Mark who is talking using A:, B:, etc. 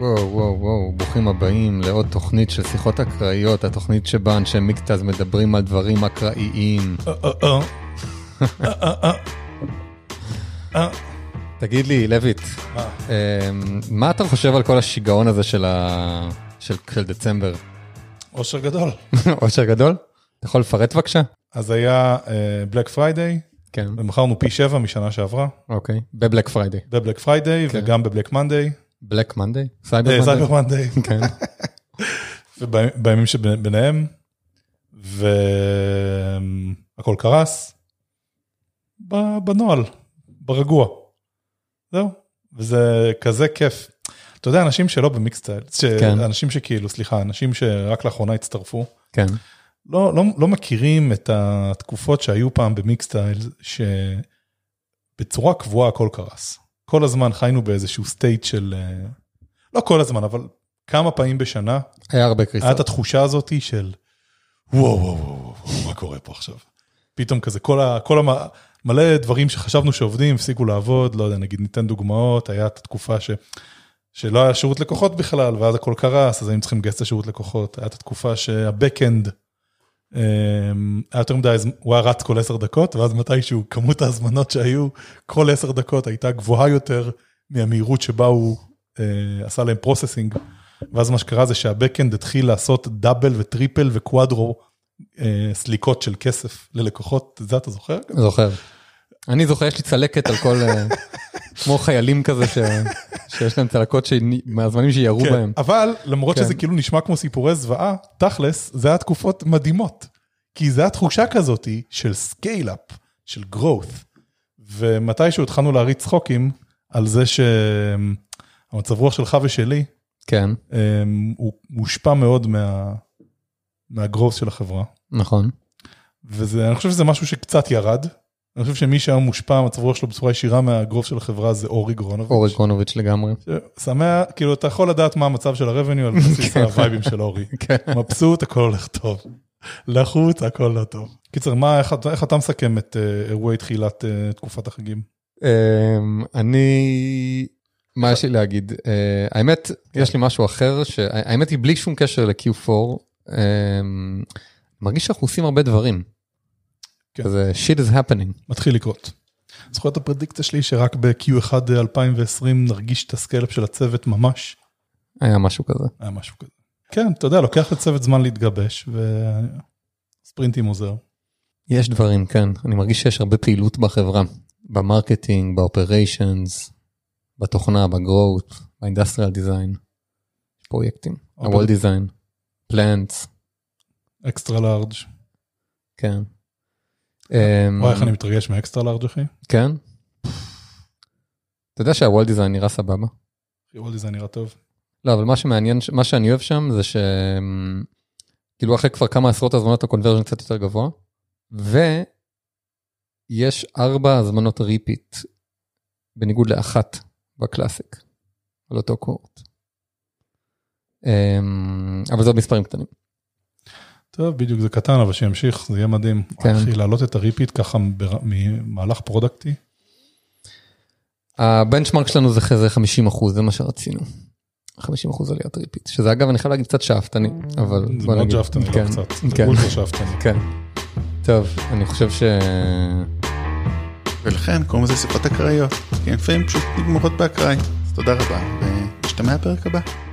A: וואו וואו וואו, ברוכים הבאים לעוד תוכנית של שיחות אקראיות, התוכנית שבה אנשי מיקטז מדברים על דברים אקראיים.
B: אה,
A: תגיד לי, לויט, אמ, מה אתה חושב על כל השיגעון הזה של ה- של של דצמבר?
B: אושר גדול.
A: אושר גדול? אתה יכול לפרט בבקשה?
B: אז היה בלק פריידיי,
A: כן.
B: ומכרנו פי 7 משנה שעברה,
A: אוקיי. בבלק פריידיי.
B: בבלק פריידיי
A: כן.
B: וגם בבלק מנדיי,
A: בלק מנדיי? סייבר
B: סייבר
A: מנדיי?
B: מנדיי,
A: כן.
B: ובימים שביניהם, והכל קרס, ב- בנוהל, ברגוע. זהו, וזה כזה כיף. אתה יודע, אנשים שלא במיקסטייל, ש-
A: כן.
B: אנשים שכאילו, סליחה, אנשים שרק לאחרונה הצטרפו,
A: כן.
B: לא, לא, לא מכירים את התקופות שהיו פעם במיקסטייל, שבצורה קבועה הכל קרס. כל הזמן חיינו באיזשהו סטייט של, אה, לא כל הזמן, אבל כמה פעמים בשנה,
A: היה הרבה
B: היה את
A: קריסות.
B: התחושה הזאת של, וואו, וואו, וואו, וואו, מה קורה פה עכשיו? פתאום כזה, כל, ה, כל המ, מלא דברים שחשבנו שעובדים, הפסיקו לעבוד, לא יודע, נגיד ניתן דוגמאות, היה את התקופה ש... שלא היה שירות לקוחות בכלל, ואז הכל קרס, אז היינו צריכים לגייס את השירות לקוחות. היה את התקופה שהבקאנד, אמ, היה יותר מדי, זמ- הוא היה רץ כל עשר דקות, ואז מתישהו כמות ההזמנות שהיו כל עשר דקות הייתה גבוהה יותר מהמהירות שבה הוא אה, עשה להם פרוססינג. ואז מה שקרה זה שהבקאנד התחיל לעשות דאבל וטריפל וקוואדרו אה, סליקות של כסף ללקוחות, את זה אתה זוכר?
A: זוכר. אני זוכר, יש לי צלקת על כל... אה, כמו חיילים כזה ש- שיש להם צלקות שהיא- מהזמנים שירו בהם.
B: אבל למרות
A: כן.
B: שזה כאילו נשמע כמו סיפורי זוועה, תכלס, זה היה תקופות מדהימות. כי זה היה תחושה כזאת של סקייל-אפ, של growth. ומתישהו התחלנו להריץ צחוקים על זה שהמצב רוח שלך ושלי
A: כן,
B: אה, הוא מושפע מאוד מה... מהgrowth של החברה.
A: נכון.
B: וזה, אני חושב שזה משהו שקצת ירד. אני חושב שמי שהיום מושפע מצב רוח שלו בצורה ישירה מהגרוף של החברה זה אורי גרונוביץ'.
A: אורי גרונוביץ' לגמרי.
B: שמח, כאילו אתה יכול לדעת מה המצב של הרבניו על בסיס
A: כן.
B: הווייבים של אורי.
A: כן.
B: מבסוט, הכל הולך טוב. לחוץ, הכל לא טוב. קיצר, מה, איך, אתה- איך אתה מסכם את אה, אירועי תחילת אה, תקופת החגים?
A: אמ, אני... מה יש לי להגיד? אה, האמת, יש לי משהו אחר, שהאמת היא בלי שום קשר ל-Q4, אמ, מרגיש שאנחנו עושים הרבה דברים.
B: כן.
A: כזה shit is happening.
B: מתחיל לקרות. זוכר את הפרדיקציה שלי שרק ב-Q1 2020 נרגיש את הסקלפ של הצוות ממש?
A: היה משהו כזה.
B: היה משהו כזה. כן, אתה יודע, לוקח לצוות זמן להתגבש, וספרינטים עוזר.
A: יש דברים, כן. אני מרגיש שיש הרבה פעילות בחברה. במרקטינג, באופריישנס, בתוכנה, בגרוט, באינדסטריאל דיזיין. יש פרויקטים. אוקיי.
B: אופר-
A: הוול דיזיין. פלנטס,
B: אקסטרה לארג'.
A: כן. אמ,
B: וואי, איך אני מתרגש מאקסטרה לארג' אחי.
A: כן? אתה יודע שהוול דיזיין נראה סבבה?
B: וואלי זה נראה טוב.
A: לא, אבל מה שמעניין, ש- מה שאני אוהב שם זה ש... כאילו אחרי כבר כמה עשרות הזמנות הקונברז'ן קצת יותר גבוה, ויש ארבע הזמנות ריפיט, בניגוד לאחת בקלאסיק, על אותו קורט. אמ, אבל זה מספרים קטנים.
B: טוב, בדיוק זה קטן, אבל שימשיך, זה יהיה מדהים.
A: כן.
B: כן. אחי, להעלות את הריפיט ככה בר- ממהלך פרודקטי.
A: הבנצ'מרק שלנו זה זה 50 אחוז, זה מה שרצינו. 50 אחוז עליית ריפיט, שזה אגב, אני חייב להגיד קצת שאפתני, אבל
B: זה
A: בוא
B: מאוד
A: נגיד.
B: שאפתני,
A: כן,
B: לא קצת. זה
A: כן,
B: אולטרה שאפתני.
A: כן. טוב, אני חושב ש...
C: ולכן קוראים לזה שיחות אקראיות, כי לפעמים פשוט נגמרות באקראי. אז תודה רבה, ונשתמע בפרק הבא.